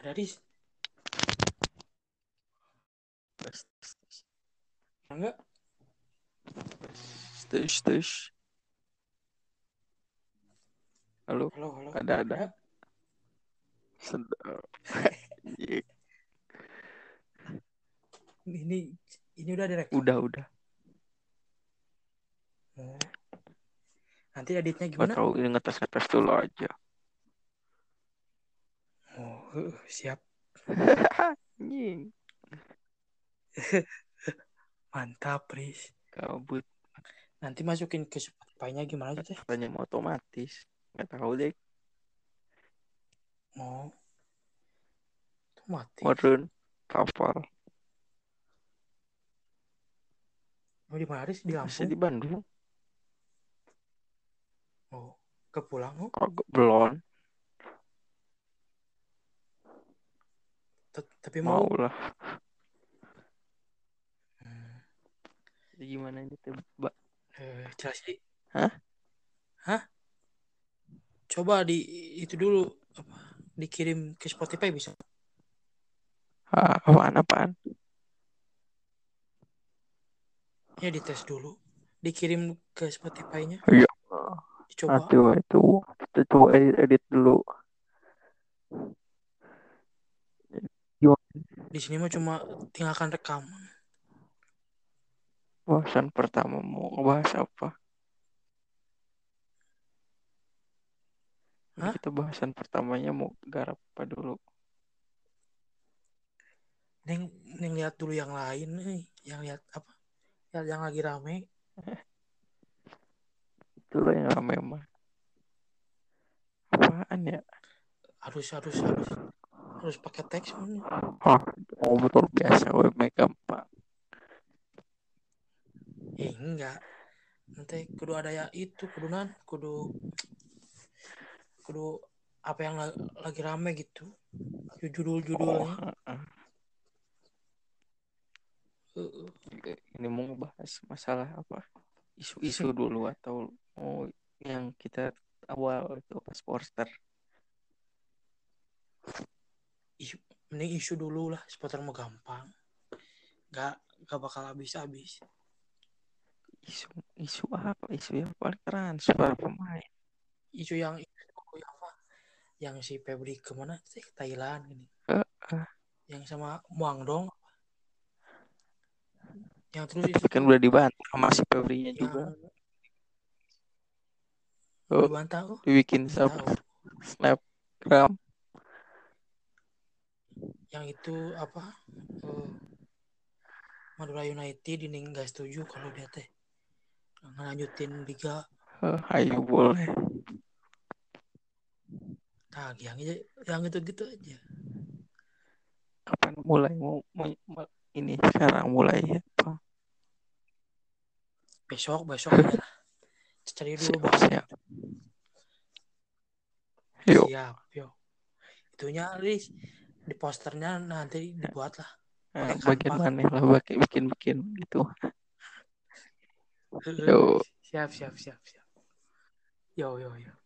Ada di enggak? Tes tes. Halo, Halo, halo. ada ada. Sedap. Iya, Ini ini udah direk. udah udah. Eh, Nanti editnya Gak gimana? tahu ini ngetes ngetes dulu aja. Oh, heuh, siap. Anjing. Mantap, Riz. Kabut. Nanti masukin ke Spotify-nya gimana gitu ya? Katanya mau otomatis. Gak tahu deh. Mau. Tuh mati. Modern kapal. Mau di mana, Riz? Di Masih Lampung. di Bandung. Oh, ke pulang oh. Kagak belum. Tet- Tapi mau. Mau lah. Hmm. Jadi Gimana ini teh, Ba? Eh, jelasin. Di. Hah? Hah? Coba di itu dulu apa? Dikirim ke Spotify bisa. Ah, apaan apaan? Ya dites dulu. Dikirim ke Spotify-nya. Iya. Dicoba. Aduh itu itu coba edit, edit dulu. Di sini mah cuma tinggalkan rekaman. Bahasan pertama mau ngebahas apa? Ini Hah? Kita bahasan pertamanya mau garap apa dulu? Neng, neng lihat dulu yang lain nih. Yang lihat apa? Lihat yang lagi rame. Dulu ya. yang rame mah. Apaan ya? Harus harus harus harus pakai teks mana? Hah, ngobrol biasa we make gampang. Eh, enggak. Nanti kudu ada ya itu kudunan, kudu kudu apa yang la- lagi rame gitu. Oh, Judul-judulnya. heeh. Heeh. Oh, ini mau ngebahas masalah apa? Isu-isu dulu atau mau yang kita awal itu pas poster. mending isu dulu lah supporter mau gampang nggak nggak bakal habis habis Isu isu apa? Isu yang paling transfer pemain. isu yang isu yang apa yang si Febri kemana sih Ke Thailand gini Heeh. yang sama Muang Dong yang terus Tapi isu kan udah dibantah sama si Febri-nya yang juga. Oh. dibantah oh Dibikin nggak snap, tahu snapgram. yang itu apa eh, Madura United ini nggak setuju kalau dia teh ngelanjutin liga Eh, Ayo boleh. nah yang yang itu gitu aja Kapan mulai mau, mau- mau- ini sekarang mulai ya. apa? besok besok aja lah cari dulu Siap, bahan. siap. Yuk. Siap, yuk. Itunya Riz di posternya nanti dibuat lah. Nah, Pakai bagian kampak. mana lah pakai bikin-bikin gitu. Yuk. Siap, siap, siap, siap. Yo, yo, yo.